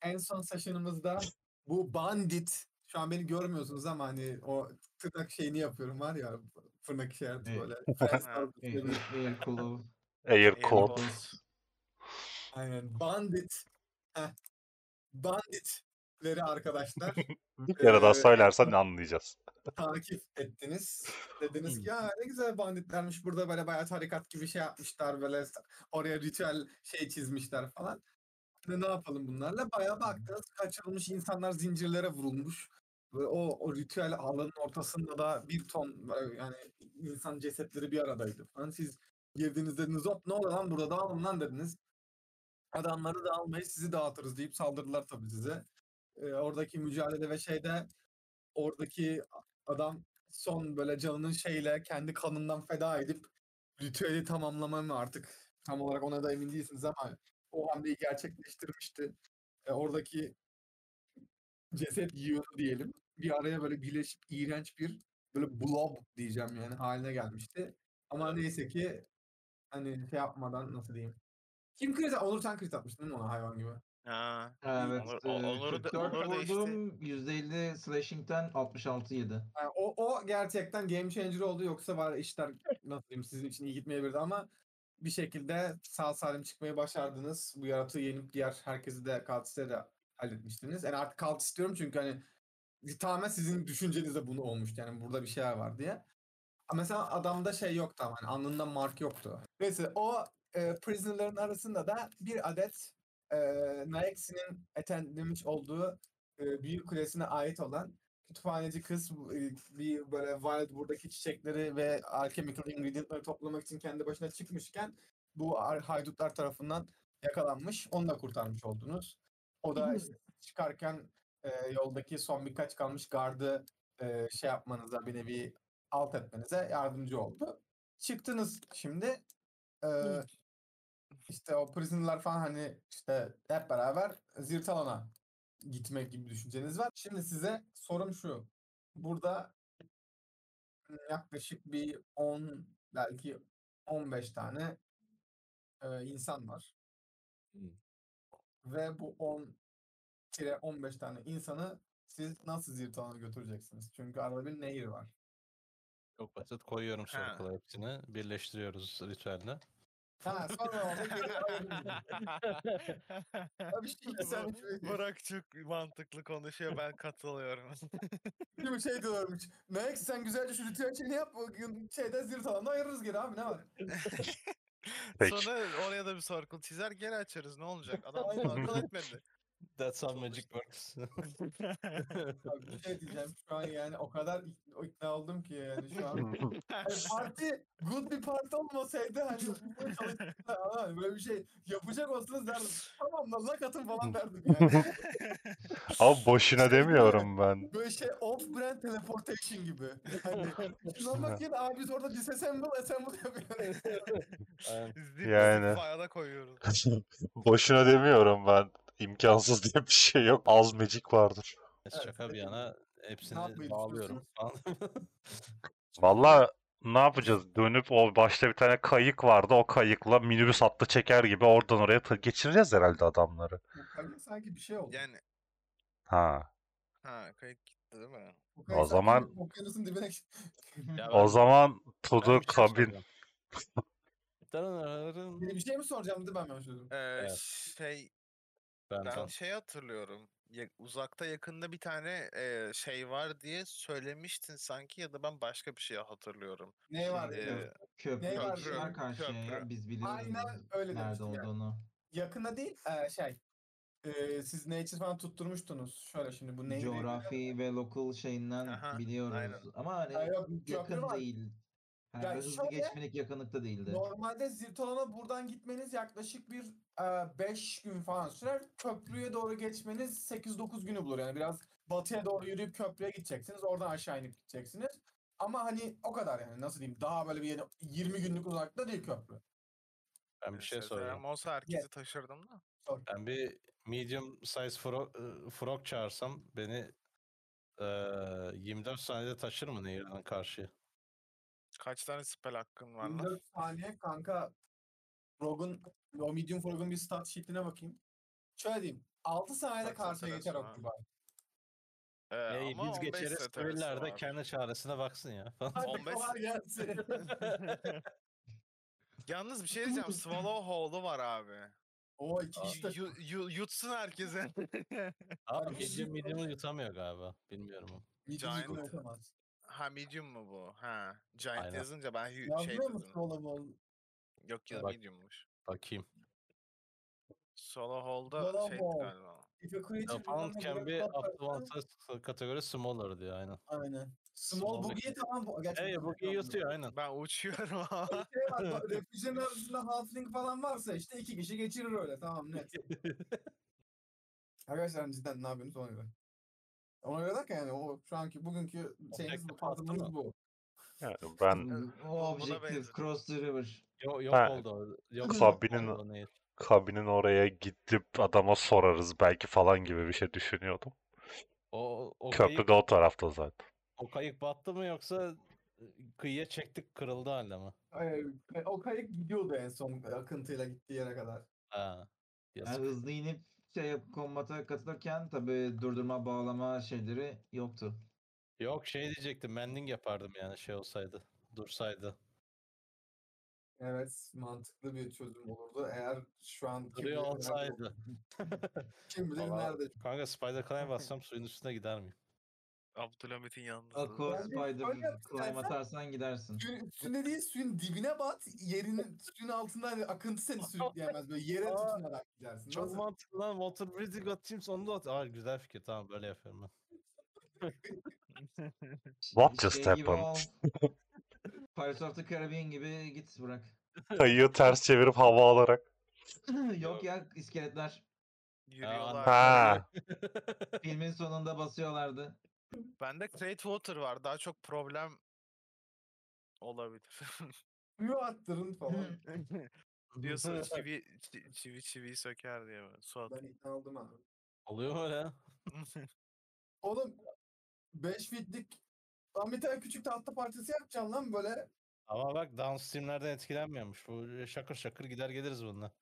en son session'ımızda bu bandit şu an beni görmüyorsunuz ama hani o tırnak şeyini yapıyorum var ya fırnak işareti Evet. böyle. El kolu. Air Cold. Aynen bandit. Heh. Banditleri arkadaşlar Ya da daha Ee, söylersen ne anlayacağız. takip ettiniz. Dediniz ki ya ne güzel banditlermiş burada böyle bayağı tarikat gibi şey yapmışlar böyle oraya ritüel şey çizmişler falan. Ne, ne yapalım bunlarla? Bayağı baktınız kaçırılmış insanlar zincirlere vurulmuş. Ve o, o ritüel alanın ortasında da bir ton böyle yani insan cesetleri bir aradaydı falan. Siz girdiniz dediniz hop ne oluyor lan burada dağılın lan dediniz. Adamları da almayı sizi dağıtırız deyip saldırdılar tabii size. Ee, oradaki mücadele ve şeyde oradaki adam son böyle canının şeyle kendi kanından feda edip ritüeli tamamlama mı artık tam olarak ona da emin değilsiniz ama o hamleyi gerçekleştirmişti. E, oradaki ceset yığını diyelim bir araya böyle birleşip iğrenç bir böyle blob diyeceğim yani haline gelmişti. Ama neyse ki hani şey yapmadan nasıl diyeyim. Kim kriz Onur sen kriz atmıştın değil mi ona hayvan gibi? Aa, Evet. e, Onur- Onur'u da- 44 Onur da işte- vurdum. %50 slashing'ten 66 yedi. Yani o, o gerçekten game changer oldu yoksa var işler nasıl diyeyim sizin için iyi gitmeyebilirdi ama bir şekilde sağ salim çıkmayı başardınız. Bu yaratığı yenip diğer herkesi de kaltiste de halletmiştiniz. Yani artık kalt istiyorum çünkü hani tamamen sizin düşüncenizde bunu olmuş yani burada bir şeyler var diye. Ama Mesela adamda şey yoktu ama hani alnında mark yoktu. Neyse o e, prisonerların arasında da bir adet e, Naexi'nin etenlemiş olduğu e, büyük kulesine ait olan kütüphaneci kız bu- e, bir böyle Wildwood'daki çiçekleri ve alchemical ingredientları toplamak için kendi başına çıkmışken bu ar- haydutlar tarafından yakalanmış. Onu da kurtarmış oldunuz. O da işte çıkarken e, yoldaki son birkaç kalmış gardı e, şey yapmanıza bir nevi alt etmenize yardımcı oldu. Çıktınız şimdi. E, işte o prisoner'lar falan hani işte hep beraber Zirtalan'a gitmek gibi düşünceniz var. Şimdi size sorum şu. Burada yaklaşık bir 10 belki 15 tane e, insan var. Ve bu 10 kere 15 tane insanı siz nasıl Zirtalan'a götüreceksiniz? Çünkü arada bir nehir var. Çok basit. Koyuyorum Ha. circle'a hepsini. Birleştiriyoruz ritüelle. Ha sonra orada geri ayrılın. Abi şey, sen hiç Bu- Burak çok mantıklı konuşuyor ben katılıyorum. bir şey diyorlarmış. Max sen güzelce şu ritüel şeyini yap. Bugün şeyde Zirtalan'da ayırırız geri abi ne var? Peki. Sonra oraya da bir circle çizer geri açarız ne olacak? Adam circle etmedi. That's how Çok magic basit. works. Abi bir şey diyeceğim şu an yani o kadar ik- ikna oldum ki yani şu an. Hani parti good bir parti olmasaydı hani bu çalışmalar falan, böyle bir şey yapacak olsanız derdim. Tamam lan lak atın falan derdim yani. Ama boşuna demiyorum ben. Böyle şey off brand teleportation gibi. Hani şuna bak yine abi biz orada disassemble assemble yapıyoruz. Aynen. Zip Yani. yani. fayda koyuyoruz. Boşuna demiyorum ben. İmkansız diye bir şey yok. Az magic vardır. Neyse, Şaka bir peki. yana yapmayı hepsini bağlıyorum. Valla ne yapacağız? Dönüp o başta bir tane kayık vardı. O kayıkla minibüs hattı çeker gibi oradan oraya tır- geçireceğiz herhalde adamları. Okan sanki bir şey oldu. Yani Ha. ha kayıt gitti değil mi? Okan o sanki zaman- okyanusun dibine Ya ben- O zaman ben Tudu bir şey kabin. soracağım. Tarararın. bir şey mi soracağım diye ben mi söyledim? Ee, Evet. şey Ben ben tam- şey hatırlıyorum. Ya- uzakta yakında bir tane e, şey var diye söylemiştin sanki ya da ben başka bir şey hatırlıyorum. Ne var? Şimdi, yani? Köprü Ne var karşıya canım? karşıya ya Köprü. biz biliyoruz. Aynen biz öyle Nerede demiştim yani. olduğunu. Yakında değil eee, şey. Eee siz Nature falan tutturmuştunuz. Şöyle şimdi bu neydi? Coğrafi ve local şeyinden Aha, biliyoruz. aynen. Ama hani Ha, yok, köprü yakın var. değil. Yani Yani hızlı şöyle, geçmelik yakınlıkta değildi. Normalde Zirtolan'a buradan gitmeniz yaklaşık bir 5 gün falan sürer. Köprüye doğru geçmeniz 8-9 günü bulur. Yani biraz batıya doğru yürüyüp köprüye gideceksiniz. Oradan aşağı inip gideceksiniz. Ama hani o kadar yani nasıl diyeyim daha böyle bir yere- 20 günlük uzaklıkta değil köprü. ben bir şey Mesela soracağım. Olsa herkesi taşırdım da. Ben bir medium size frog, e, frog çağırsam beni e, 24 saniyede taşır mı nehirden karşıya? Kaç tane spell hakkın var lan? 24 saniye kanka Rogue'un o medium Frog'un bir stat sheet'ine bakayım. Şöyle diyeyim. 6 saniyede Baksana karşıya geçer Serap'ın ha. Akkuba. Ee, Ey, ama biz 15 geçeriz set arası köylüler de var. kendi çaresine baksın ya. Hadi 15 kolay gelsin. Yalnız bir şey diyeceğim. Swallow Hall'u var abi. Oo iki kişi de Y- yu- yu- yutsun herkese. Abi Abi biz- medium medium'u yutamıyor galiba. Bilmiyorum. Midnight Giant. yapamaz. ha medium mu bu? Ha. Giant Aynen. yazınca ben hu- şey Yazmıyor dedim. musun oğlum oğlum? Yok ya Bak. mediummuş. Bakayım. Solo Hall'da Swallow şeydi Hall. galiba. If a creature The Pound can be up to one size kategori smaller diyor aynen. Aynen. Small Boogie'ye tamam. bu- Gerçi Ey bu yutuyor aynen. Ben uçuyorum ama. Şey var, bak, refüjinin arasında halfling falan varsa işte iki kişi geçirir öyle tamam net. Arkadaşlar cidden ne yapıyorsunuz ona göre. Ona göre derken yani o şu anki bugünkü şeyimiz bu Objektif attı tarzımız mı? bu. Yani ben Evet, O buna objektif benziyor. cross the river. Yok yok Ha. oldu. o, Yok Sabinin- oldu, o nehir. kabinin oraya gidip adama sorarız belki falan gibi bir şey düşünüyordum. O, o, Köprü kayık, de o tarafta zaten. o kayık battı mı yoksa e, kıyıya çektik kırıldı halde mi? Ay, e, o kayık gidiyordu en son akıntıyla gittiği yere kadar. Ha. Yani Yazık. hızlı inip şey yap- kombata katılırken tabii durdurma bağlama şeyleri yoktu. Yok şey diyecektim mending yapardım yani şey olsaydı. Dursaydı. Evet mantıklı bir çözüm olurdu. Eğer şu an kim bilir Duruyor nerede, olsaydı. kim bilir Vallahi- nerede. Kanka Spider Climb bassam suyun üstüne gider miyim? Abdülhamit'in yanında. Akor Ben bir spider şöyle yap climb istersen. atarsan gidersin. Suyun üstünde değil suyun dibine bat. Yerinin suyun altında hani akıntı seni sürükleyemez. Böyle yere Aa, tutunarak gidersin. Çok Nasıl? mantıklı lan. Water breathing atayım sonra da at. Aa, güzel fikir tamam böyle yapıyorum ben. What Şey just Şey gibi happened? ol. Pirates of the Caribbean gibi git bırak. Kayığı ters çevirip hava alarak. Yok ya iskeletler Yürüyorlar. Ha. filmin sonunda basıyorlardı. Bende Great Water var. Daha çok problem olabilir. Suyu attırın falan. Diyorsun çivi, çi- çivi çiviyi söker diye böyle. Su at. ben ikna oldum abi. Oluyor mu öyle? Oğlum 5 fitlik lan bir tane küçük tahta parçası yapacağım lan böyle. Ama bak downstreamlerden etkilenmiyormuş. Bu şakır şakır gider geliriz bununla.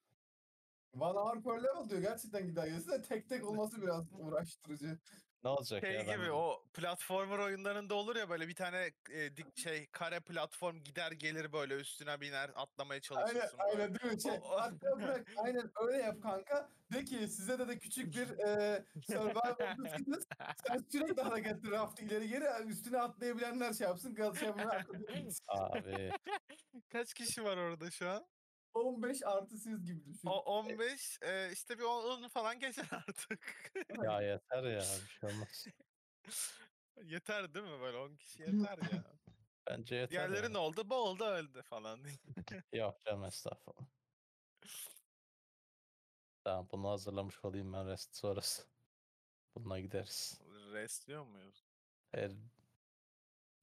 Van Hour per level diyor gerçekten gider gelirse de tek tek olması biraz uğraştırıcı. Ne olacak ya? Şey ben gibi de- o platformer oyunlarında olur ya böyle bir tane e, dik şey kare platform gider gelir böyle üstüne biner atlamaya Aynen çalışırsın. böyle. aynen değil mi? Şey, O- o- hatta bırak aynen öyle yap kanka. De ki size de, de küçük bir e, survival'dasınız. Sen sürekli hareket raft ileri geri e, üstüne atlayabilenler şey yapsın. Gaz şey yapın, atlayabilirsiniz. Abi. Kaç kişi var orada şu an? 15 artı siz gibi düşün. O 15 e, işte bir 10 falan geçer artık. ya yeter ya. Bir şey olmaz. yeter değil mi böyle 10 kişi yeter ya. Bence yeter. Diğerleri ne oldu? Bu oldu öldü falan. ya. Yok canım estağfurullah. Tamam bunu hazırlamış olayım ben rest sonrası. Bununla gideriz. Restliyor muyuz? Her...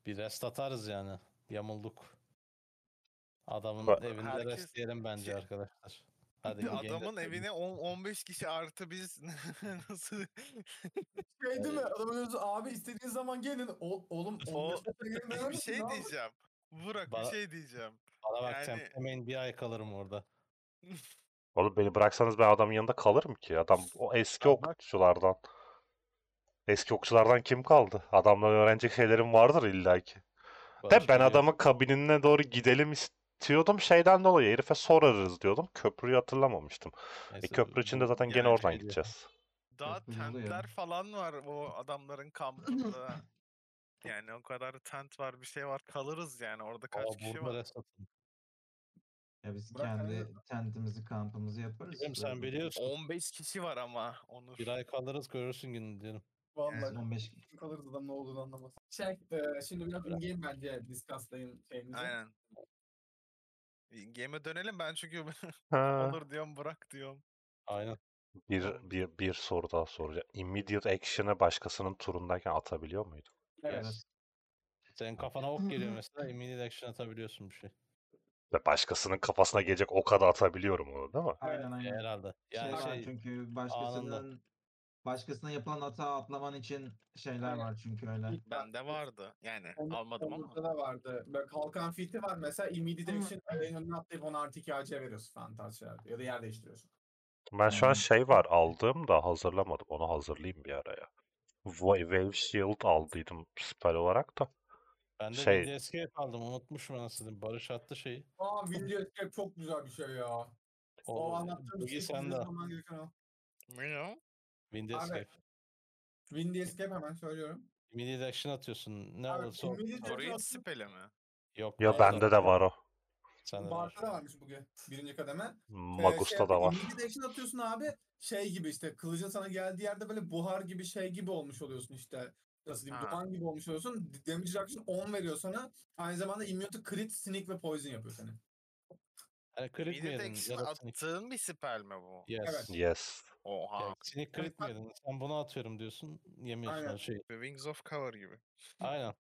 Bir rest atarız yani. Yamulduk. Adamın Bak- evinde Herkes- rest diyelim bence Şey- arkadaşlar. Hadi Ya bir genel- Adamın evine 10 15 kişi artı biz nasıl Şey değil mi? Adamın özü, abi istediğiniz zaman gelin. O, oğlum O- 15 dakika gelin demez bir misin şey lan? diyeceğim. Burak bir Bana- şey diyeceğim. Bana bak Yani- temizlemeyin bir ay kalırım orada. Oğlum beni bıraksanız ben adamın yanında kalırım ki. Adam o eski okçulardan. Eski okçulardan kim kaldı? Adamdan öğrenecek şeylerim vardır illaki. De Barış ben Bey, adamın kabinine doğru gidelim istiyordum şeyden dolayı. Herife sorarız diyordum. Köprüyü hatırlamamıştım. E neyse, köprü içinde bu- zaten gene genel oradan şey diyor. gideceğiz. Daha Çok hızlı ya. tentler falan var o adamların kampında. yani o kadar tent var bir şey var kalırız yani orada kaç Aa, kişi burada var. rest atın. Ya biz Bırak kendi aynen. tentimizi kampımızı yaparız. Bizim sen zaten. biliyorsun. 15 kişi var ama onu Bir ay kalırız görürsün günü diyorum. Vallahi 15 kalırız adam ne olduğunu anlamaz. Şey, e, şimdi biraz in-game bence discusslayın şeyimizi. Aynen. Game'e dönelim ben çünkü Ha, olur diyorum bırak diyorum. Aynen. bir, bir, bir soru daha soracağım. Immediate action'ı başkasının turundayken atabiliyor muydu? Evet. Evet. Senin kafana ok geliyor mesela immediate action atabiliyorsun bir şey. Ve başkasının kafasına gelecek o kadar atabiliyorum onu değil mi? Aynen E, aynen. Herhalde. Şey Yani var şey, çünkü başkasının başkasına yapılan hata atlaman için şeyler Aynen. var çünkü öyle. İlk Bende vardı yani Onun- almadım ama. Onurda da vardı. Böyle kalkan fiti var mesela immediate Ama- action en önüne atlayıp ona artı 2 AC veriyorsun falan tarz şeyler. Ya da yer değiştiriyorsun. Ben şu an Hmm. şey var aldığım da hazırlamadım. Onu hazırlayayım bir araya. Wa- Wave Shield aldıydım spell olarak da. Ben de Şey- şey... Escape aldım. Unutmuşum anasını. Barış attı şeyi. Aa Windows Escape çok güzel bir şey ya. O, O anlattığım bilgi şey sende. sizin zaman gereken o. Bilmiyorum. Windy Abi. Escape. Windy Escape hemen söylüyorum. Immediate action atıyorsun. Ne Abi, olursa ol- immediate ol. action- Orayı nasıl- spell'e mi? Yok. Ya pardon. bende de var Şey, o. Sende de var. Bart'ta da varmış bugün. Birinci kademe. Ee, Magus'ta şey da var. immediate action atıyorsun abi. Şey gibi işte kılıcın sana geldiği yerde böyle buhar gibi şey gibi olmuş oluyorsun işte. Nasıl diyeyim Ha. duman gibi olmuş oluyorsun. D- Damage reaction 10 veriyor sana. Aynı zamanda immunity crit, sneak ve poison yapıyor seni. Hani crit mi Immediate yedin? action Ya da sneak- attığın bir spell mi bu? Yes. Evet. Yes. Oha. Ya, sneak crit mi yedin? Sen bunu atıyorum diyorsun. Yemiyorsun Aynen. o şeyi. The Wings of Cover gibi. Aynen.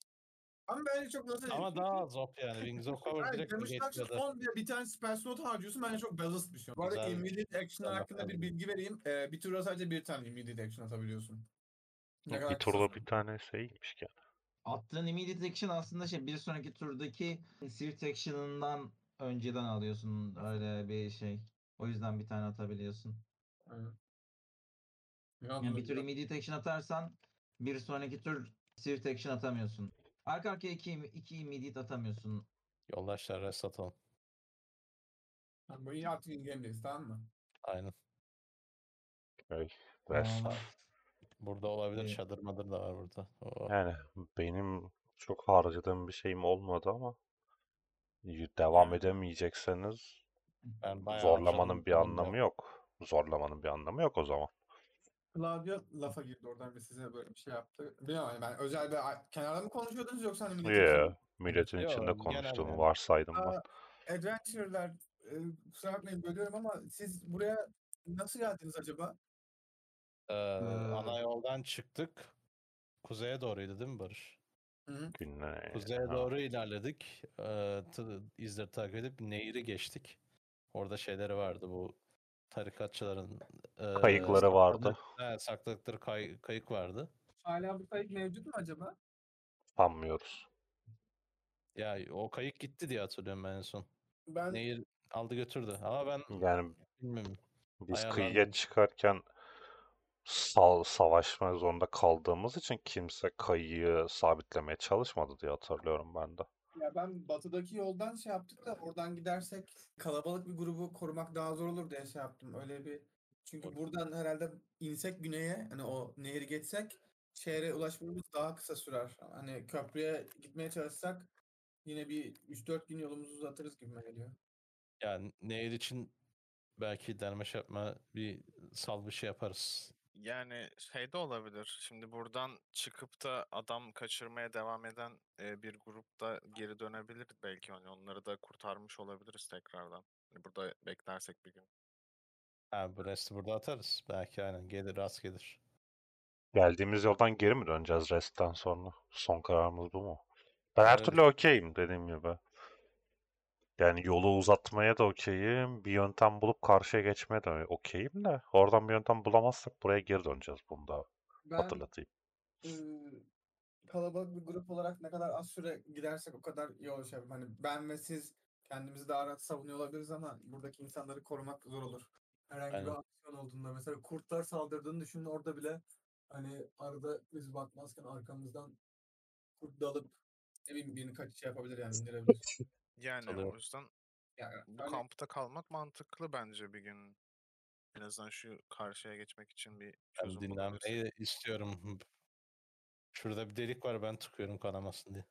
Ama bence çok nasıl diyeyim? Ama daha az op yani. Wings of Cover Hayır, direkt Damage negate Reaction ya da- 10 diye bir tane spell slot harcıyorsun bence çok balanced bir şey. Bu arada Güzel. immediate action Güzel hakkında bir yaptın. bilgi vereyim. Ee, bir turda sadece bir tane immediate action atabiliyorsun. Ne Bir kadar turda kısasın. bir tane şeymiş ki. Attığın immediate action aslında şey bir sonraki turdaki swift action'ından önceden alıyorsun öyle bir şey. O yüzden bir tane atabiliyorsun. Aynen. Ne Yani yapıyorsun? bir tür immediate action atarsan bir sonraki tur swift action atamıyorsun. Arka arkaya iki, iki immediate atamıyorsun. Yoldaşlar rest atalım. Tamam, Bu iyi artık in-game'deyiz tamam mı? Aynen. Rest. Aa, Burada olabilir. Ee, Evet. Çadır madır da var burada. O- Yani benim çok harcadığım bir şeyim olmadı ama y- devam edemeyecekseniz Ben bayağı zorlamanın harcadım bir bu anlamı konuda. yok. Zorlamanın bir anlamı yok o zaman. Claudio lafa girdi oradan ve size böyle bir şey yaptı. Bilmiyorum yani ben özel bir kenarda mı konuşuyordunuz yoksa hani millet Yeah. Milletin Yo, içinde genel konuştuğumu yani. varsaydım ben. Aa, Adventure'lar e, kusura bakmayın bölüyorum ama siz buraya nasıl geldiniz acaba? Ee, Ee, ana yoldan çıktık. Kuzeye doğruydu değil mi Barış? Güney. Kuzeye Ee, ha. doğru ilerledik. Ee, tı- izleri takip edip nehri geçtik. Orada şeyleri vardı bu tarikatçıların ee, Kayıkları vardı. sakladık- He, sakladıkları kay- kayık vardı. Hala bu kayık mevcut mu acaba? Sanmıyoruz. Ya o kayık gitti diye hatırlıyorum ben en son. Ben Nehir aldı götürdü. Ama ben Yani bilmiyorum. Biz Ayarlar kıyıya değil. çıkarken sal savaşma zorunda kaldığımız için kimse kayığı sabitlemeye çalışmadı diye hatırlıyorum ben de. ya ben batıdaki yoldan şey yaptık da oradan gidersek kalabalık bir grubu korumak daha zor olur diye şey yaptım. Öyle bir çünkü buradan herhalde insek güneye hani o nehri geçsek şehre ulaşmamız daha kısa sürer. Hani köprüye gitmeye çalışsak yine bir 3-4 gün yolumuzu uzatırız gibi geliyor. Yani nehir için belki dermeş yapma bir sal bir şey yaparız. Yani şey de olabilir. Şimdi buradan çıkıp da adam kaçırmaya devam eden e, bir grupta geri dönebilir belki. Hani onları da kurtarmış olabiliriz tekrardan. Hani burada beklersek bir gün. Ha bu resti burada atarız. Belki aynen gelir rast gelir. Geldiğimiz yoldan geri mi döneceğiz restten sonra? Son kararımız bu mu? Ben her Evet. türlü okeyim dediğim gibi. Yani yolu uzatmaya da okeyim. Bir yöntem bulup karşıya geçmeye de okeyim de. Oradan bir yöntem bulamazsak buraya geri döneceğiz bunu da Ben hatırlatayım. ıı, kalabalık bir grup olarak ne kadar az süre gidersek o kadar iyi olur. Şey. Hani ben ve siz kendimizi daha rahat savunuyor olabiliriz ama buradaki insanları korumak zor olur. Herhangi bir Aynen. aksiyon olduğunda mesela kurtlar saldırdığını düşünün orada bile hani arada biz bakmazken arkamızdan kurt dalıp ne bileyim birini kaç şey yapabilir yani indirebilir. Yani Tabii. o yüzden Yani, bu hani kampta kalmak mantıklı bence bir gün. En azından şu karşıya geçmek için bir Ben çözüm bulabilirsek. dinlenmeyi de istiyorum. Şurada bir delik var ben tıkıyorum kanamasın diye.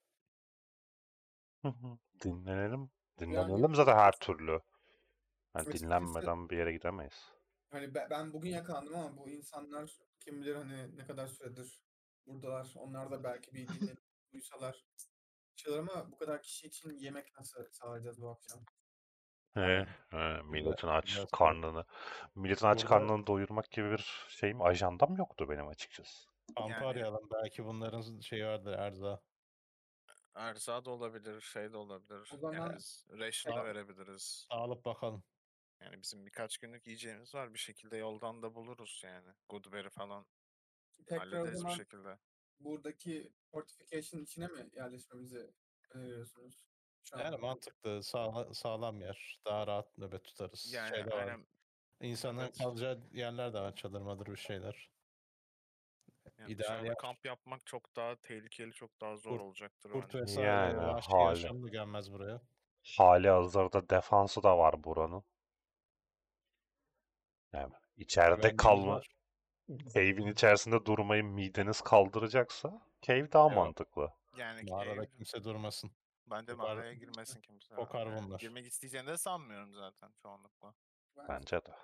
Hı hı. Dinlenelim. Dinlenelim zaten her türlü. Yani Açıkçası- dinlenmeden bir yere gidemeyiz. hani be- ben bugün yakalandım ama bu insanlar kim bilir hani ne kadar süredir buradalar. Onlar da belki bir dinlenip uyusalar. Şeyler ama bu kadar kişi için yemek nasıl sağlayacağız bu akşam? Ee, ee, milletin aç biraz- karnını, milletin aç Burada- karnını doyurmak gibi bir şeyim, ajandam yoktu benim açıkçası. Kampı Yani- arayalım. Belki bunların şeyi vardır Erza. Erza da olabilir, şey de olabilir. zaman- Yani biz ration da Tamam. verebiliriz. Alıp bakalım. Yani bizim birkaç günlük yiyeceğimiz var. Bir şekilde yoldan da buluruz yani. Goodberry falan Tekrar o hallederiz bir şey. zaman şekilde. buradaki fortification içine mi yerleşmemizi öneriyorsunuz? Şu an Yani mantıklı. Sağla, sağlam yer. Daha rahat nöbet tutarız. Yani Şey de var. aynen İnsanların Evet. kalacağı yerler de var. Çadır madır bir şeyler. Yani İdeal dışarıda yer. kamp yapmak çok daha tehlikeli, çok daha zor Kurt- olacaktır Kurt bence. vesaire Yani vahşi hala. yaşam da gelmez buraya. Hali hazırda defansı da var buranın. Yani içeride Güvenliğimiz kalma, var. cave'in içerisinde durmayı mideniz kaldıracaksa cave daha Ya, mantıklı. Yani ki Mağarada ev- kimse durmasın. ben de kokar- mağaraya girmesin kimse. kokar herhalde. bunlar. Girmek isteyeceğini de sanmıyorum zaten çoğunlukla. Bence de.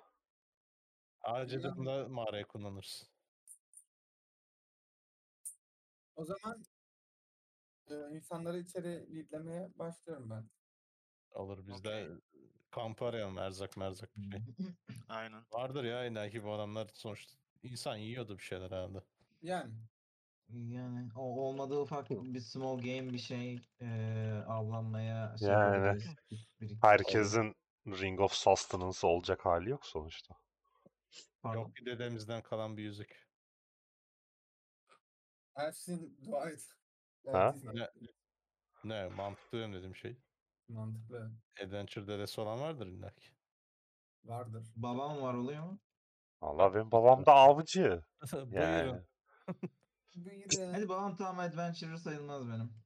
Acil Bilmiyorum. durumda mağarayı kullanırız. O zaman e, insanları içeri leadlemeye başlıyorum ben. Olur biz Okey. de kampı arayalım erzak merzak bir şey. Aynen. Vardır ya illa ki bu adamlar sonuçta insan yiyordu bir şeyler herhalde. Yani Yani o olmadı ufak bir small game bir şey eee avlanmaya şey Yani. yapabiliriz. Bir- bir- Herkesin Ring of Sustenance olacak hali yok sonuçta. Pardon. Yok ki dedemizden kalan bir yüzük. Ersin dua et. Yani Ha? siz- Ne, ne mantıklı diyorum dedim şey. Mantıklı. Adventure dedesi olan vardır illa ki. Vardır. Babam var oluyor mu? Allah benim babam da avcı. Yani. Buyurun. Buyurun. Hadi babam tam adventurer sayılmaz benim.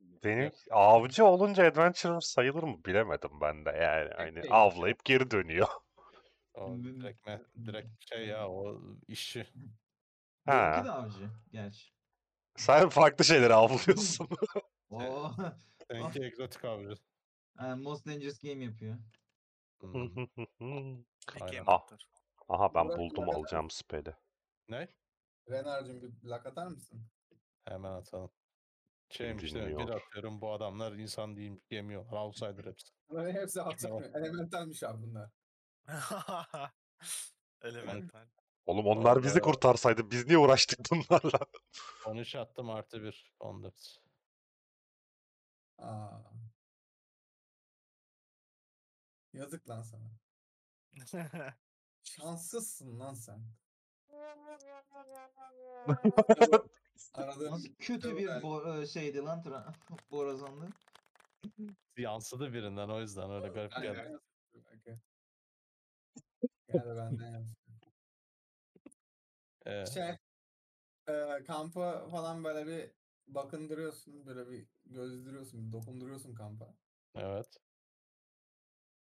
Benim avcı olunca adventurer sayılır mı bilemedim ben de yani. Hani değil. avlayıp geri dönüyor. O Hmm. direkt, me- direkt şey ya o işçi. Benimki Ha. de avcı gerçi. Sen farklı şeyleri avlıyorsun. Oo. Seninki egzotik avcı. Yani Most Dangerous Game yapıyor. Hmm. Aynen. Game Ah. Hunter. Aha ben Burak buldum nerede? alacağım spell'i. ne? Renar'cığım bir lak atar mısın? Hemen atalım. Şeymiş değil mi? Bir dinliyor? atıyorum bu adamlar insan değil yemiyor. Outsider hepsi. Bunların hepsi alçak Tamam. mı? Elementalmiş abi bunlar. Elemental. Oğlum onlar bizi Vallahi. kurtarsaydı biz niye uğraştık bunlarla? 13 attım artı 1. 14. Aa. Yazık lan sana. Şanssızsın lan sen. Aradığın Nasıl kötü bir Evet. bo- e, şeydi lan tra- borazandı. Yansıdı birinden o yüzden öyle garip Aynen, geldi. aynen. Okey. Gel benden yap. Ee, Şey, e, kampa falan böyle bir bakındırıyorsun, böyle bir gözdürüyorsun, bir dokunduruyorsun kampa. evet.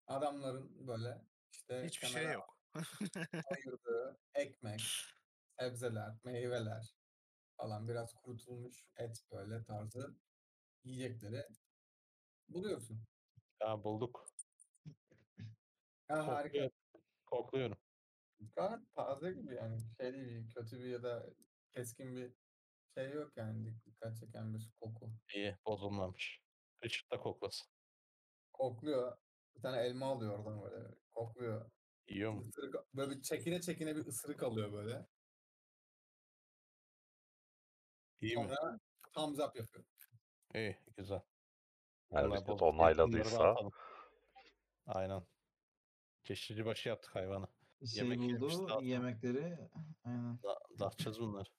Adamların böyle işte Hiçbir şey kenara yok. ayırdığı ekmek, sebzeler, meyveler falan biraz kurutulmuş et böyle tarzı yiyecekleri buluyorsun. Ya bulduk. Ya harika. Kokluyorum. Kokluyorum. Gayet taze gibi yani şey değil, bir kötü bir ya da keskin bir şey yok yani dik- dikkat çeken bir koku. İyi bozulmamış. Richard da koklasın. Kokluyor. Bir tane elma alıyor oradan böyle. Kokluyor. Yiyor mu? Isırık, böyle bir çekine çekine bir ısırık alıyor böyle. İyi mi? Sonra thumbs up yapıyor. İyi. Güzel. Yani Bunlar biz de bozuk değil, bunları da onayladıysa. atalım. Aynen. Keşici başı yaptık hayvanı. Şey Yemek yemiş buldu zaten. yemekleri. Aynen. Da- Dağıtacağız bunları.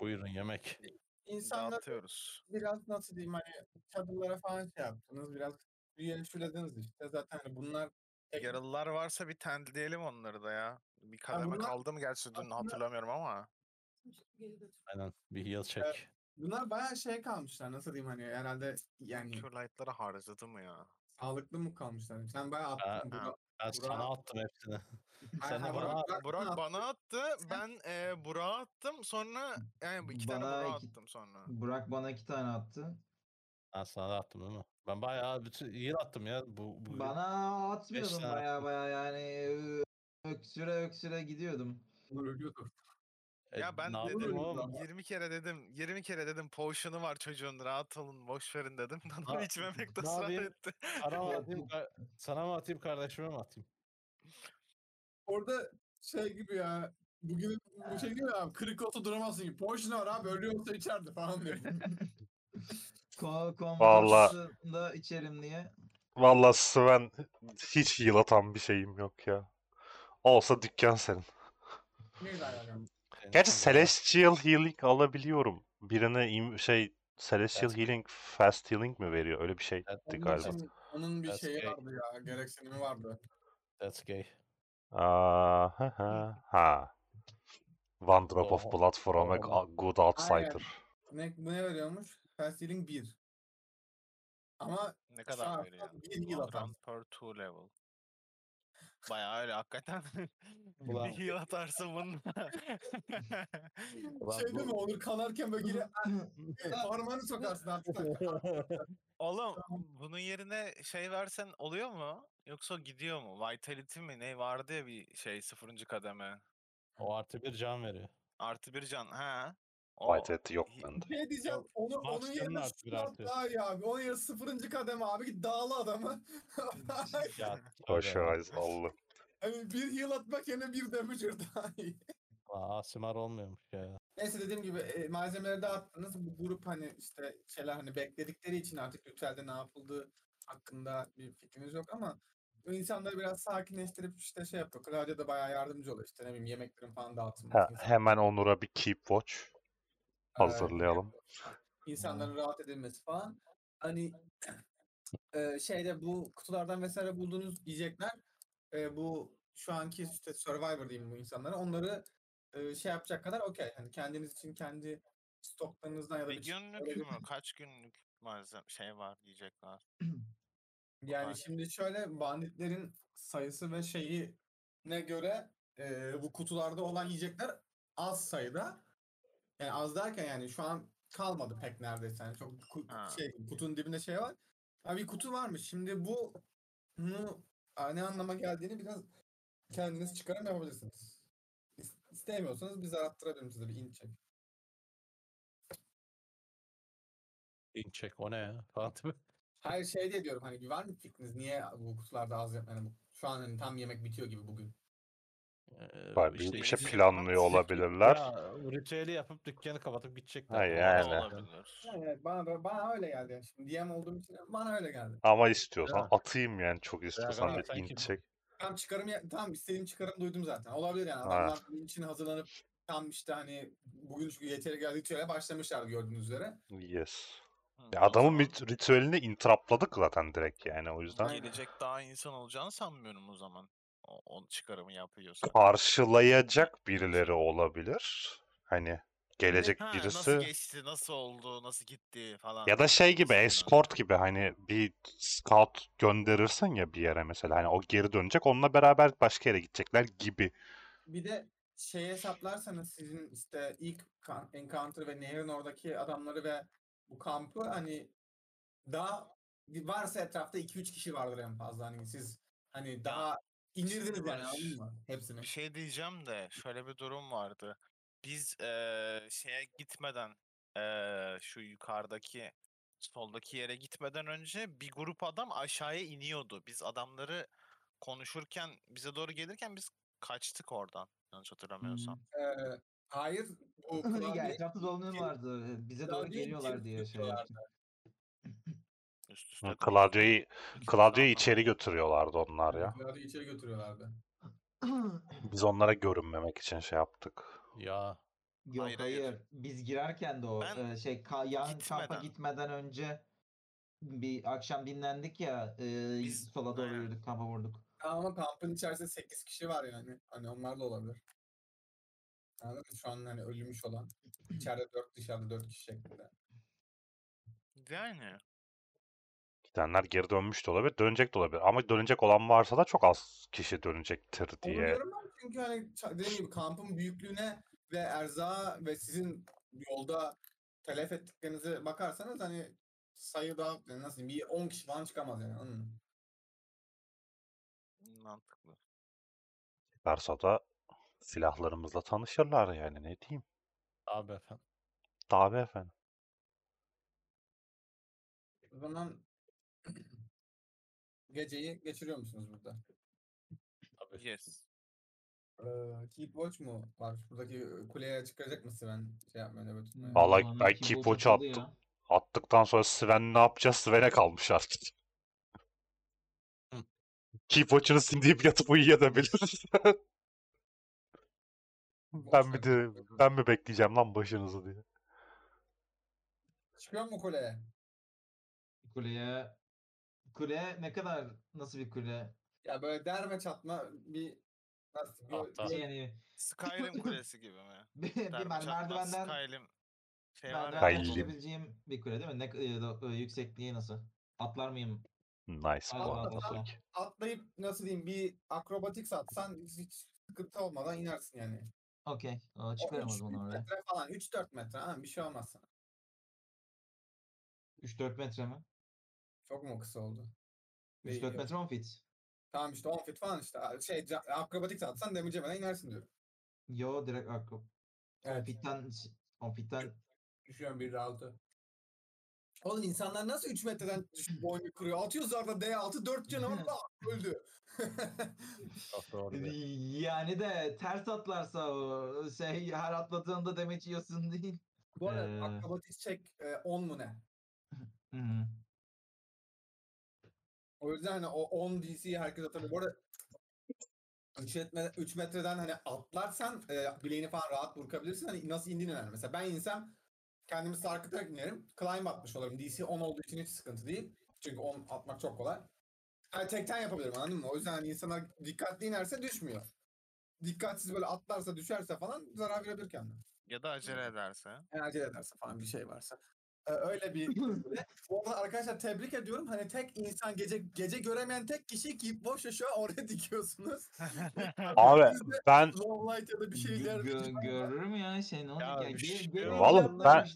Buyurun yemek. İnsanlar Dağıtıyoruz. biraz nasıl diyeyim hani çadırlara falan şey yaptınız biraz büyüleştirdiniz işte zaten hani bunlar tek- Yaralılar varsa bir tendleyelim onları da ya. Bir kademe bunlar- kaldı mı gerçi dün aslında- hatırlamıyorum ama. Aynen. Bir heal check. bunlar bayağı şey kalmışlar nasıl diyeyim hani herhalde yani Yani... Curlight'ları harcadı mı ya? sağlıklı mı kalmışlar Hani, sen bayağı Ha, attın ha. Burak- Ben sana Burak- attım hepsini. Ay, Sen de ha, bana Burak- Burak at. Burak mı attı? bana attı. Ben e, Burak'a attım. Sonra yani bu iki tane Bana Burak'a iki- attım sonra. Burak bana iki tane attı. Ben sana da attım değil mi? Ben bayağı bütün heal attım ya. Bu, bu Bana atmıyordum tane baya attı. baya yani ö- öksüre öksüre gidiyordum. Dur, dur, dur. e, ya ben ne yaptım dedim oğlum? ama? 20 kere dedim 20 kere dedim potion'u var çocuğun rahat olun boş verin dedim. Adam Ne- içmemekte ne ısrar yapayım? etti. Sana mı Ya atayım, bu- ka- sana mı atayım kardeşime mi atayım? Orada şey gibi ya. Bugün bu şey gibi abi. Kırık olsa duramazsın gibi. Porsche var abi. Ölü olsa içerdi falan diyor. Ko Vallahi- konferansında içerim diye. Valla Sven hiç yılatan bir şeyim yok ya. Olsa dükkan senin. Neyse yani. Senin Gerçi için de- Celestial Healing alabiliyorum. Birine im- şey Celestial Fast. Healing Fast Healing mi veriyor? Öyle bir şey. şeydi Evet, Onun galiba. için Onun bir That's şeyi gay. vardı ya. şey Gereksinimi vardı. That's gay. Aa, ha ha ha. One drop of Oha, blood from a oha. good outsider. Ne, bu ne veriyormuş? Fast Healing 1. Ama Ne Sağ kadar veriyor? taraftan bir heal One atar. round per two level. Bayağı öyle hakikaten. Ulan. bir heal atarsın bununla. Ulan şey bu- değil mi? Onur kanarken böyle geri Evet, parmağını sokarsın artık. Oğlum bunun yerine şey versen oluyor mu? Yoksa gidiyor mu? Vitality mi? Ne vardı ya bir şey sıfırıncı kademe. o artı bir can veriyor. Artı bir can. Ha. O White hat yok Hi- bende. Bir şey diyeceğim. Onu, onun Max canını yerine artı bir şutlar artıyor. daha iyi abi. Onun yerine sıfırıncı kademe abi. Git dağla adamı. Ya, tövbe. Pressurize allı. yani bir heal atmak yerine bir damager daha iyi. Ulan Asimar olmuyormuş ya. Neyse dediğim gibi e, malzemeleri dağıttınız. Bu grup hani işte şeyler hani bekledikleri için artık Lütfel'de ne yapıldığı hakkında bir fikrimiz yok ama bu insanları biraz sakinleştirip işte şey yapıyor. Claudia da bayağı yardımcı oluyor. İşte ne bileyim yemeklerin falan dağıtılması. Ha, insanların- hemen Onur'a bir keep watch Ee, hazırlayalım. insanların rahat edilmesi falan. Hani e, şeyde bu kutulardan vesaire bulduğunuz yiyecekler e, bu şu anki işte Survivor diyeyim bu insanlara onları e, şey yapacak kadar okey. Hani kendiniz için kendi stoklarınızdan ya da bir bir şey- günlük mü? Kaç günlük malzeme şey var diyecekler. Yani Aynen. şimdi şöyle banditlerin sayısı ve şeyi ne göre e, bu kutularda olan yiyecekler az sayıda. Yani az derken yani şu an kalmadı pek neredeyse. Yani çok ku- Ha. şey kutunun dibinde şey var. Ha bir kutu varmış. Şimdi bu bunu a, ne anlama geldiğini biraz kendiniz çıkarım yapabilirsiniz. İs- İstemiyorsanız biz arattırabilirim size bir in check. İnçek o ne ya? Falan değil mi? Hayır şey diye diyorum hani var mı fikriniz niye bu kutularda az yap- yani bu- şu an hani tam yemek bitiyor gibi bugün. Ee, Vay, işte büyük bir şey bizim- planlıyor bizim- olabilirler. Ya, ritüeli yapıp dükkanı kapatıp gidecekler. Hayır, falan. O da yani. olabilir. Yani evet, bana, bana öyle geldi. yani. Şimdi DM olduğum için bana öyle geldi. Ama istiyorsan Ya. atayım yani çok istiyorsan bana bir sanki- int çek. Tam çıkarım ya- tam istediğim çıkarım duydum zaten. Olabilir yani. Ha. Adamlar bunun için hazırlanıp tam işte hani bugün çünkü yeteri geldi ritüele başlamışlar gördüğünüz üzere. Yes. Hı, Ya o adamın zaman rit- ritüelini intrapladık zaten direkt yani o yüzden. Aynen. Gelecek daha insan olacağını sanmıyorum o zaman. O, o çıkarımı yapıyorsa. Karşılayacak birileri olabilir. Hani gelecek Ha, Nasıl birisi. geçti, nasıl oldu, nasıl gitti falan. Ya da şey gibi gibisinden. escort gibi hani bir scout gönderirsen ya bir yere mesela hani o geri dönecek onunla beraber başka yere gidecekler gibi. Bir de şey hesaplarsanız sizin işte ilk kan- encounter ve nehrin oradaki adamları ve bu kampı hani daha varsa etrafta 2-3 kişi vardır en fazla. Hani siz hani daha indirdiniz yani Barış, anladın mı? Hepsini. Bir şey diyeceğim de şöyle bir durum vardı. Biz eee, şeye gitmeden eee, şu yukarıdaki soldaki yere gitmeden önce bir grup adam aşağıya iniyordu. Biz adamları konuşurken bize doğru gelirken biz kaçtık oradan yanlış hatırlamıyorsam. Ee, hayır. Bu ya klavye- etrafta dolanıyorlardı. Bize doğru Klavyeyi geliyorlar geri diye şey tutuyorlardı. yaptım. Üst üste Hı, kaldık. Claudio'yu İkimiz de Claudio'yu anlamadık. içeri götürüyorlardı onlar ya. Klavyeyi içeri götürüyorlardı. Biz onlara görünmemek için şey yaptık. Ya. Yok Hayır, hayır, hayır. Biz girerken de o Ben e, şey ka, yan kampa gitmeden- gitmeden önce bir akşam dinlendik ya e, Biz- sola doğru aynen. yürüdük kampa vurduk. Ama kampın içerisinde 8 kişi var yani. Hani onlar da olabilir. Anladın mı? Şu an hani ölmüş olan. içeride 4 dışarıda 4 kişi şeklinde. Yani Gidenler geri dönmüş de olabilir, dönecek de olabilir. Ama dönecek olan varsa da çok az kişi dönecektir Onu diye. diyorum ben çünkü hani ça- dediğim gibi kampın büyüklüğüne ve erzağa ve sizin yolda telef ettiklerinize bakarsanız hani sayı daha yani nasıl diyeyim bir 10 kişi falan çıkamaz yani. anladın mı? mantıklı. Varsa da silahlarımızla tanışırlar yani ne diyeyim. Abi efendim. Tabi efendim. O zaman geceyi geçiriyor musunuz burada? Tabii. Yes. Ee, Keep Watch mu var? Buradaki e, kuleye çıkacak mısın ben şey yapmaya nöbet tutmaya? Vallahi Aman, ben kim keep bu watch'u takıldı attım. ya. Attıktan sonra Sven ne yapacağız? Sven'e kalmış artık. Hı. Keep watch'ını sindiyip yatıp uyuyabilir. ben mi ver, de boş ver. ben mi bekleyeceğim lan başınızı diye. Çıkıyor mu kuleye? Kuleye Kule ne kadar nasıl bir kule? Ya böyle derme çatma bir nasıl bir, şey Tahta. bir- Yani Skyrim kulesi gibi mi? bir, bir Derme mer- çatma, Hani merdivenden Skyrim şey var ya. merdivenden Skyrim. çıkabileceğim bir kule değil mi? Ne e, do- e, yüksekliği nasıl? Atlar mıyım? Nice bu Aa, arada. tamam. atlayıp nasıl diyeyim bir akrobatik satsan hiç sıkıntı olmadan inersin yani. Okey. Aa, O Çıkarım o üç- zaman üç oraya. metre falan 3-4 metre ha bir şey olmaz sana. 3-4 metre mi? Çok mu kısa oldu? Değil, 3-4 yok. metre 10 fit. Tamam işte 10 fit falan işte şey ca- akrobatik satsan damage yemeden inersin diyorum. Yo direkt akro. Evet. Fitten, fitten Düşüyorum bir altı. Oğlum insanlar nasıl 3 metreden düşüp boynu kuruyor? Atıyor zarda D6 4 canavar bak, öldü. Ah, doğru be. yani de ters atlarsa o şey her atladığında demek yiyorsun değil. Bu arada Ee. akrobatik çek e, 10 mu ne? Hı. O yüzden hani o 10 DC'yi herkes atabilir. Bu arada 3 metreden, metreden hani atlarsan e, bileğini falan rahat burkabilirsin. Hani nasıl indiğin önemli. Mesela ben insem kendimi sarkıtarak inerim. Climb atmış olurum. DC 10 olduğu için hiç sıkıntı değil. Çünkü 10 atmak çok kolay. Hani tekten yapabilirim anladın mı? O yüzden hani insanlar dikkatli inerse düşmüyor. Dikkatsiz böyle atlarsa düşerse falan zarar verebilir kendine. Ya da acele ederse. Yani acele ederse falan bir şey varsa. Ee, öyle bir Bu arada arkadaşlar tebrik ediyorum. Hani tek insan gece gece göremeyen tek kişi ki boş aşağı oraya dikiyorsunuz. Abi Siz de ben Lowlight ya da bir şey şeyler. Gö- gö- görür mü ya şey ne Ya olacak? bir şey- Vallahi ben-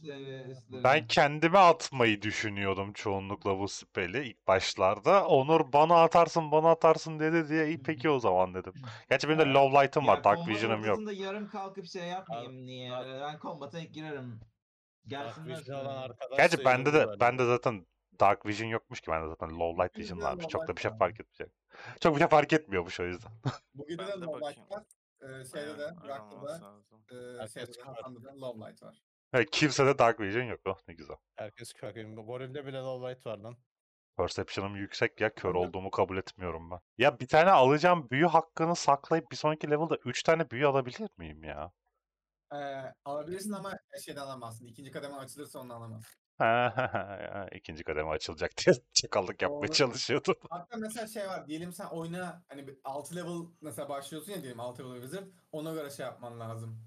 ben ben kendime atmayı düşünüyordum çoğunlukla bu speli ilk başlarda. Onur bana atarsın bana atarsın dedi diye iyi peki o zaman dedim. Gerçi benim de Ya- low light'ım var Dark Vision'ım yok. yarım kalkıp şey yapmayayım niye? Yani ben kombata ilk girerim. Dark Gelsinler. Vision olan sonra. arkadaş Gerçi sayılır bende bu de arada. bende zaten Dark Vision yokmuş ki bende zaten low light Bizde vision de varmış. low Çok da light bir şey var. fark etmeyecek. Çok bir şey fark etmiyormuş o yüzden. Bu gece de Ben de bakayım. Lowlight var. Ee, şeyde de Aynen, Burak'ta aramamız da lazım. e, Herkes şeyde de çıkar. Hasan'da da Lowlight var. Evet, Hani kimse de Dark Vision yok. Oh, ne güzel. Herkes kör. Gorilde bile low light var lan. Perception'ım yüksek ya kör Ama- olduğumu kabul etmiyorum ben. Ya bir tane alacağım büyü hakkını saklayıp bir sonraki level'da 3 tane büyü alabilir miyim ya? Ee, alabilirsin ama şeyden alamazsın. İkinci kademen açılırsa onu alamazsın. İkinci kademe açılacak diye çakallık yapmaya Doğru. çalışıyordum. Hatta mesela şey var diyelim sen oyuna hani 6 level mesela başlıyorsun ya diyelim 6 level wizard ona göre şey yapman lazım.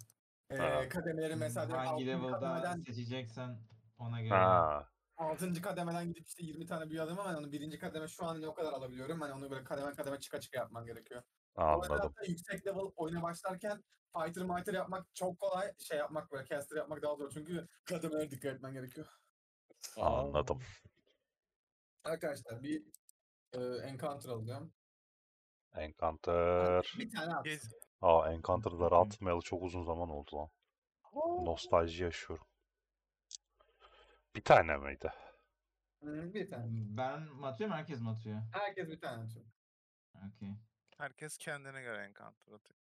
Ee, Ha. kademeleri mesela diyelim hangi altıncı level'da kademeden, seçeceksen ona göre. Ha. 6. kademeden gidip işte 20 tane büyü alıyorum ama onu birinci kademe şu an hani o kadar alabiliyorum. Hani onu böyle kademe kademe çıka çıka yapman gerekiyor. O yüzden Anladım. hatta yüksek level oyuna başlarken fighter mighter yapmak çok kolay. Şey yapmak böyle caster yapmak daha zor çünkü kademelere dikkat etmen gerekiyor. Anladım. Arkadaşlar bir e, encounter alacağım. Encounter. Bir tane at. Gez- Aa Encounter'ları atmayalı çok uzun zaman oldu lan. Nostalji yaşıyorum. Bir tane miydi? Hı, Bir tane. Ben mi atıyorum herkes mi atıyor? Herkes bir tane atıyor. Okey. Herkes kendine göre encounter atıyor.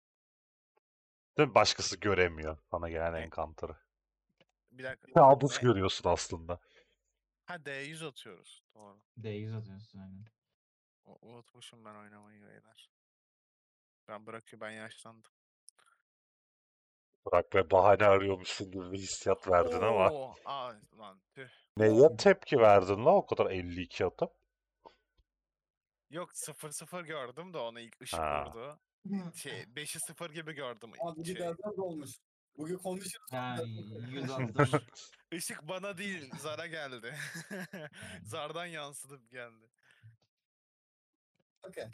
Değil mi? Başkası göremiyor sana gelen Evet. Encounter'ı. Bir dakika. Kabus ne- görüyorsun aslında. Ha D100 atıyoruz. Doğru. D100 atıyorsun aynen. U- Unutmuşum ben oynamayı beyler. Ben bırakıyor ben yaşlandım. Bırak be bahane arıyormuşsun gibi bir hissiyat verdin ama. Oo, Aa lan tüh. Neye tepki verdin la o kadar 52 atıp? Yok 0-0 gördüm de onu ilk ışık Ha. vurdu. Şey 5'i 0 gibi gördüm. Abi şey. bugün birazdan dolmuş. Bugün kondisyonu Ha, 100 attım. Işık bana değil Zara geldi. Zardan yansıdım geldi. okey.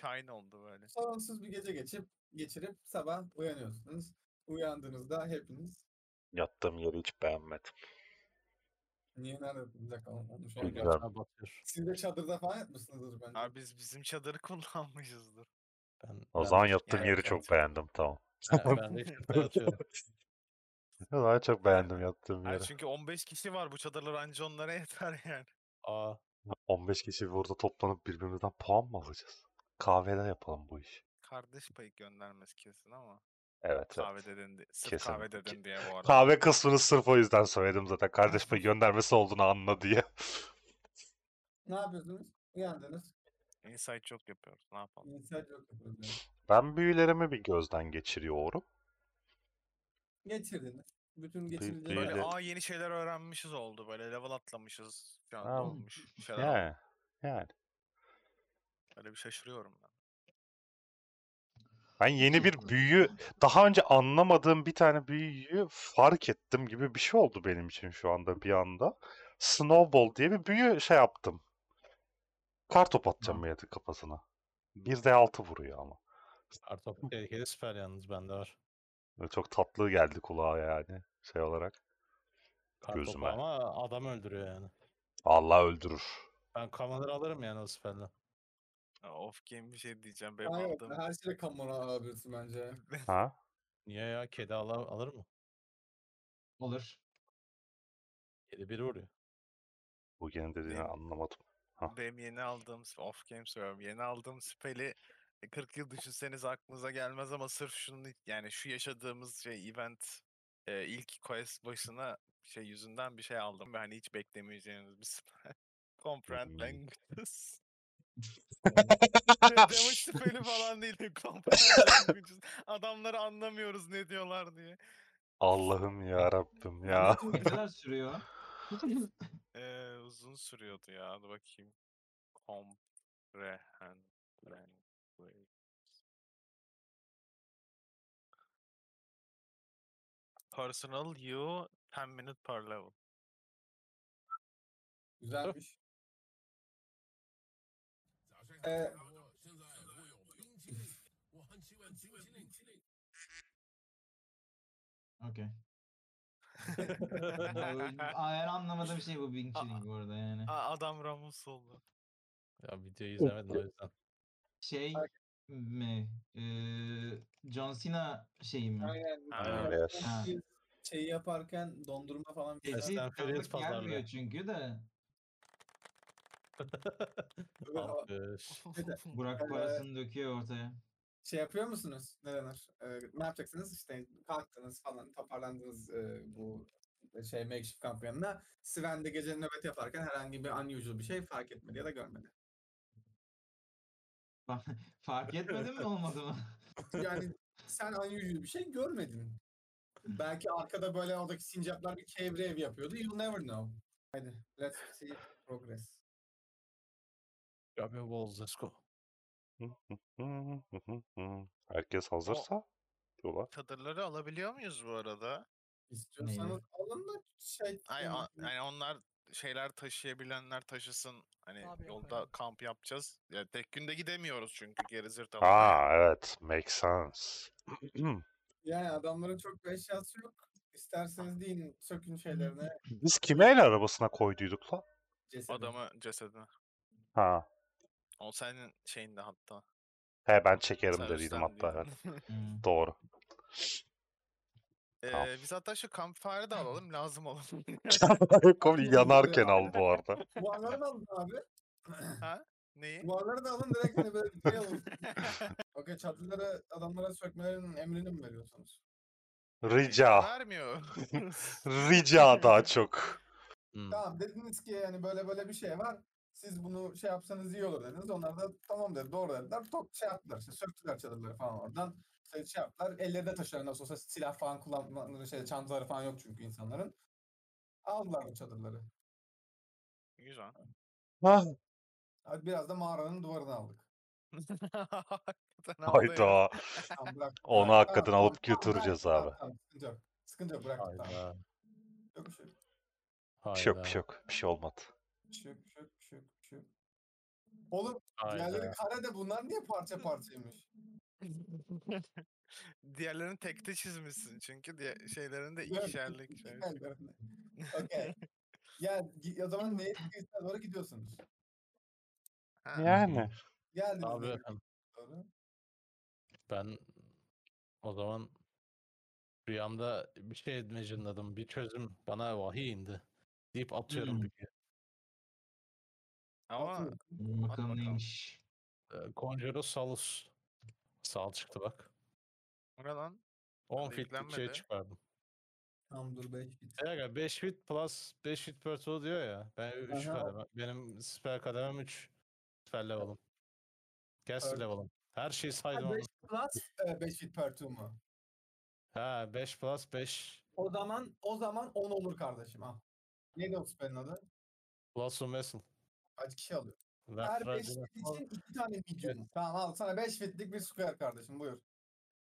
Shine oldu böyle. Sorunsuz bir gece geçip geçirip sabah uyanıyorsunuz. Uyandığınızda hepiniz Yattığım yeri hiç beğenmedim. niye nerede bir dakika onu- onu şu an Bilmiyorum. gördüm. Siz de çadırda falan yatmışsınızdır bence. Abi biz bizim çadırı kullanmışızdır. Ben, O zaman yattığım Yani yeri evet, çok evet. beğendim tamam. ben, ben de işte yatıyorum. Ben çok beğendim yattığım Hayır, yeri. çünkü 15 kişi var bu çadırlar anca onlara yeter yani. Aa, 15 kişi burada toplanıp birbirimizden puan mı alacağız? Kahvede yapalım bu işi. Kardeş payı göndermez kesin ama. Evet. evet. Kahve dedin, di- sırf Kesin. kahve Ki- dedin diye bu arada. Kahve kısmını sırf o yüzden söyledim zaten. Kardeş payı göndermesi olduğunu anla diye. Ne yapıyorsunuz? Uyandınız. Insight çok yapıyoruz. Ne yapalım? İnsan yok yapıyoruz yani. Ben büyülerimi bir gözden geçiriyorum. Geçirdiniz. Bütün geçirici değil Böyle de- aa yeni şeyler öğrenmişiz oldu. Böyle level atlamışız falan Ha, olmuş. Şeyler Yani. Yani. Öyle bir şaşırıyorum ben. Ben yeni bir büyüyü daha önce anlamadığım bir tane büyüyü fark ettim gibi bir şey oldu benim için şu anda bir anda. Snowball diye bir büyü şey yaptım. Kartop atacağım yedi kafasına. 1D6 vuruyor ama. Kartopu tehlikeli süper yalnız bende var. Böyle çok tatlı geldi kulağa yani şey olarak. Kartopu Gözüme. ama adam öldürüyor yani. Allah öldürür. Ben kamerayı alırım yani o süperle. Ya Off game bir şey diyeceğim. Benim Hayır, aldığım her şeyle kamera alabilirsin bence. Ha? Niye ya? Kedi ala- alır mı? Olur. Kedi biri vuruyor. Bu gene dediğini Benim- anlamadım. Ha. Benim yeni aldığım sp- off game söylüyorum. Yeni aldığım spell'i e, 40 yıl düşünseniz aklınıza gelmez ama sırf şunun yani şu yaşadığımız şey event e, ilk quest başına şey yüzünden bir şey aldım. Yani hiç beklemeyeceğiniz bir spell. Comprehend Hmm. languages. Damage spell'i falan değil. Comprehend languages. Adamları anlamıyoruz ne diyorlar diye. Allah'ım ya Rabbim ya. Ne kadar sürüyor? Ee, uzun sürüyordu ya. Hadi bakayım. Comprehend language. Personal you 10 minute per level. Güzelmiş. Ee, Okey. Aynen anlamadığım şey bu Bing Chilling bu arada yani. Aa, adam Ramos oldu. Ya videoyu izlemedim o yüzden. Şey Bak. mi? Eee John Cena şeyi mi? aynen. Aynen. Biraz Ha. biz Şeyi yaparken dondurma falan bir Tehdit Fast şeyler. and Furious tanıdık gelmiyor pazarlığı. çünkü de. Böyle o- Alkış. Burak Ee, parasını döküyor ortaya. Şey yapıyor musunuz? Ne denir? Ee, ne yapacaksınız? İşte kalktınız falan toparlandınız e, bu şey makeshift kamp yanına. Sven de gece nöbet yaparken herhangi bir unusual bir şey fark etmedi ya da görmedi. Fark etmedin mi olmadı mı? Yani sen unusual bir şey görmedin. Belki arkada böyle oradaki sincaplar bir cave rave yapıyordu. You'll never know. Hadi let's see progress. Grab your balls, let's go. Herkes hazırsa diyorlar. Çadırları alabiliyor muyuz bu arada? İstiyorsanız alın da şey... Ay, yani- a- yani onlar şeyler taşıyabilenler taşısın. Hani Abi yok yolda öyle. kamp yapacağız. Ya tek günde gidemiyoruz çünkü geri zırt alıp. Aa evet. Makes sense. Yani adamların çok bir eşyası yok. İsterseniz deyin sökün şeylerine. Biz kime el arabasına koyduyduk lan? cesedi. Adamı cesedine. Ha. O senin şeyinde hatta. He ben çekerim sen dediydim hatta. üstlendiydin. evet. Hmm. Doğru. Tamam. Ee, biz hatta şu kampfire de alalım lazım olan. Komik yanarken al bu arada. Duvarları da alın abi. Neyi? Duvarları da alın direkt hani böyle bir şey alın. Okey çatıları adamlara sökmelerin emrini mi veriyorsunuz? Rica. Vermiyor. Rica daha çok. Hmm. Tamam dediniz ki yani böyle böyle bir şey var. Siz bunu şey yapsanız iyi olur dediniz. Onlar da tamam dedi doğru dediler. Top şey yaptılar işte söktüler çadırları falan oradan. Şey, şey yaptılar ellerinde taşıyan nasıl olsa silah falan kullanmaları şey çantaları falan yok çünkü insanların. Aldılar bu çadırları. Güzel. Hah, Hadi biraz da mağaranın duvarını aldık. Hakikaten aldı ya. Hayda. Tamam, bırak. Onu bırak. hakikaten Tamam, tamam, bırak. alıp götüreceğiz Tamam, abi. tamam, Sıkıntı yok. Sıkıntı yok bırak. Tamam. Hayda. Yok bir şey yok. Bir şey yok hayda, bir şey yok. Bir şey olmadı. Bir şey yok. Bir şey yok. Bir şey yok. Bir şey yok. Oğlum hayda. diğerleri kare de bunlar niye parça parçaymış? Diğerlerini tekte çizmişsin çünkü diye şeylerin de Evet, ikişerlik şey. Diğerlerine. Okey. Ya gi- o zaman neye gittiğinizde doğru gidiyorsunuz. Ha. Yani. Geldiniz Abi neye efendim, doğru. ben o zaman rüyamda bir şey imagine'ladım. Bir çözüm bana vahiy indi. Deyip atıyorum Hmm. bir Ama Atın. Bakalım bakalım. neymiş. Ee, Conjuro Salus. Sal çıktı bak. o ne lan? 10 fitlik şey yüklenmedi. çıkardım. Tamam dur 5 bit. Ya 5 fit plus 5 fit per turn diyor ya. Ben 3 Aha. kademe. Benim süper kademem 3. Süper level'ım. Gas Evet. level'ım. Her şeyi 5 saydım. onun. plus 5 bit per two mu? Ha 5 plus 5 O zaman o zaman 10 olur kardeşim ha. Neydi o spell'in adı? plus Vessel. Kaç kişi alıyor? Ver- Her ver- 5 ver- fit için 2 tane medium. Tamam al sana 5 fitlik bir square kardeşim buyur.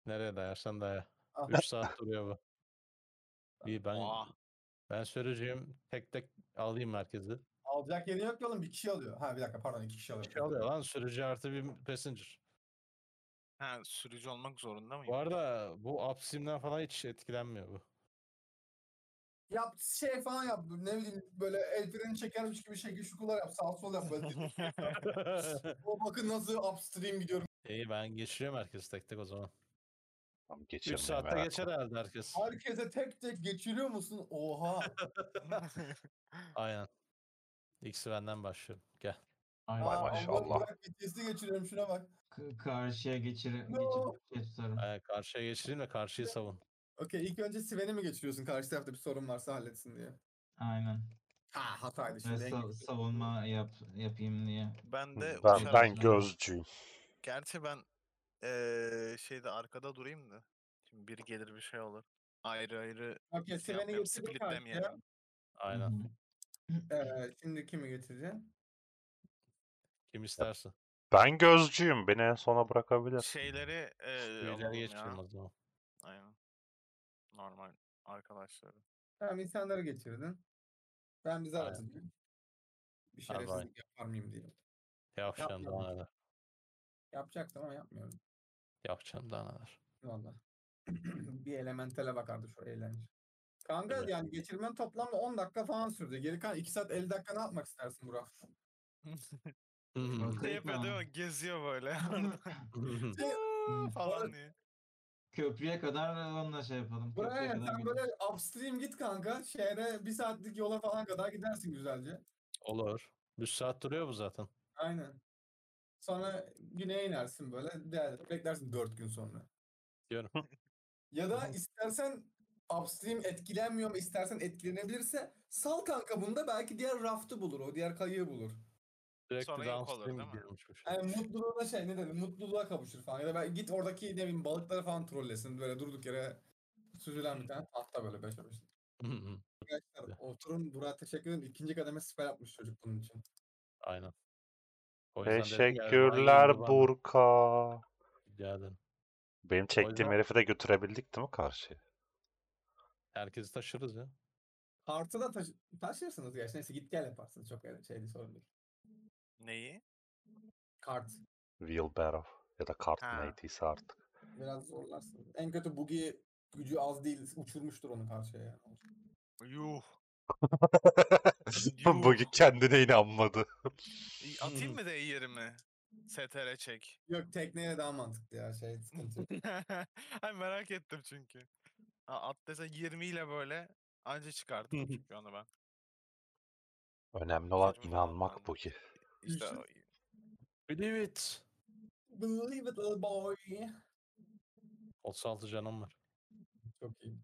Nereye dayarsan daya. Ah. 3 saat duruyor bu. İyi ben Oha. ben sürücüyüm. Tek tek alayım merkezi. Alacak yeri yok ki oğlum bir kişi alıyor. Ha bir dakika pardon iki kişi alıyor. Şey alıyor lan sürücü artı bir passenger. Ha, sürücü olmak zorunda mıyım? Bu arada bu upsimden falan hiç etkilenmiyor bu. Yap şey falan yap ne bileyim böyle el freni çekermiş gibi şekil şukular yap sağ sol yap böyle. o bakın nasıl upstream gidiyorum. İyi ben geçiriyorum herkes tek tek o zaman. Tamam 3 geçelim. ya, saatte merak geçer etme. herhalde herkes. Herkese tek tek geçiriyor musun? Oha. Aynen. İkisi benden başlıyorum. Gel. Aynen. Aa, Vay Allah maşallah. Bırak vitesi geçiriyorum şuna bak. K- karşıya geçir, No. geçir şey tutarım. Aynen, Ee, karşıya geçireyim de karşıyı savun. Okey ilk önce Sven'i mi geçiriyorsun karşı tarafta bir sorun varsa halletsin diye. Aynen. Ha hataydı Ve şimdi. en sa- kötü. savunma yap yapayım diye. ben de Hmm, Ben, uçarım. ben gözcüyüm. Gerçi ben eee, şeyde arkada durayım da. Şimdi biri gelir bir şey olur. Ayrı ayrı Okey şey Sven'i yapmayalım. getirdin Split karşıya. demeyelim. Aynen. Hı hı. Ee, şimdi kimi getireceğim? Kim isterse. Ben gözcüyüm. Beni en sona bırakabilir. Şeyleri eee alalım Üyeleri geçiriyorum ya. o zaman. Aynen. Normal arkadaşları. Tamam insanları geçirdin. Ben bize Aynen. atacağım. Bir Hadi bay. şerefsizlik yapar mıyım diye. Yavşan Yapma. daha neler. Yapacaktım ama yapmıyorum. Yavşan daha neler. Valla. bir elementele bakardı şu eğlence. Kanka Evet. yani geçirmen toplamda 10 dakika falan sürdü. Geri kalan 2 saat 50 dakika ne yapmak istersin Burak? Bakayım Ne Şey yapıyor değil ben. mi? Geziyor böyle. Hı. falan diye. Köprüye kadar onunla şey yapalım. Köprüye Buraya kadar sen gidelim. böyle upstream git kanka. Şehre bir saatlik yola falan kadar gidersin güzelce. Olur. 3 saat duruyor bu zaten. Aynen. Sonra güneye inersin böyle. değer- Beklersin 4 gün sonra. Diyorum. Ya da Aha. istersen upstream etkilenmiyor mu istersen etkilenebilirse sal kanka bunu da belki diğer raftı bulur. O diğer kayığı bulur. Direkt Sonra bir yok olur, downstream değil mi? gidiyormuş bu şey. Yani mutluluğuna şey ne dedim mutluluğa kavuşur falan. Ya da ben git oradaki ne bileyim balıkları falan trollesin. Böyle durduk yere süzülen bir tane tahta böyle beş beş. Hı hı. Arkadaşlar oturun Burak'a teşekkür ederim. İkinci kademe siper yapmış çocuk bunun için. Aynen. O yüzden dedim ya, bana Teşekkürler yıldır bana Burka. rica ederim. Benim çektiğim yüzden- herifi de götürebildik değil mi karşıya? Herkesi taşırız ya. Artı da taşı taşırsınız gerçi. Neyse git gel yaparsınız. Çok öyle şeydi sorun değil. Neyi? Kart. Wheelbarrow ya da kart Ha. neydiyse artık. Biraz zorlarsınız. En kötü bugi gücü az değil. Uçurmuştur onu karşıya yani. Yuh. Yuh. Bugün kendine inanmadı. İyi, Atayım mı D20? STR çek. Yok tekneyle daha mantıklı ya şey sıkıntı. yok. Ay merak ettim çünkü. Ha, at dese 20 ile böyle anca çıkarttım çünkü onu ben. Önemli olan Saçma sapan inanmak davrandı. Bugi. İşte Düşün. o- Believe it. Believe it little boy. 36 canım var. Çok iyi.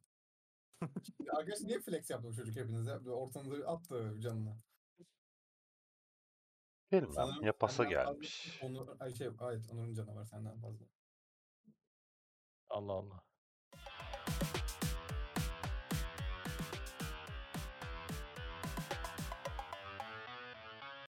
Şimdi Arkadaşlar niye flex yaptı bu çocuk hepinize? Böyle ortamda bir attı canına. Bilmem Sanırım yapası senden fazla gelmiş. Onur, ay şey, evet Onur'un canavar senden fazla. Allah Allah.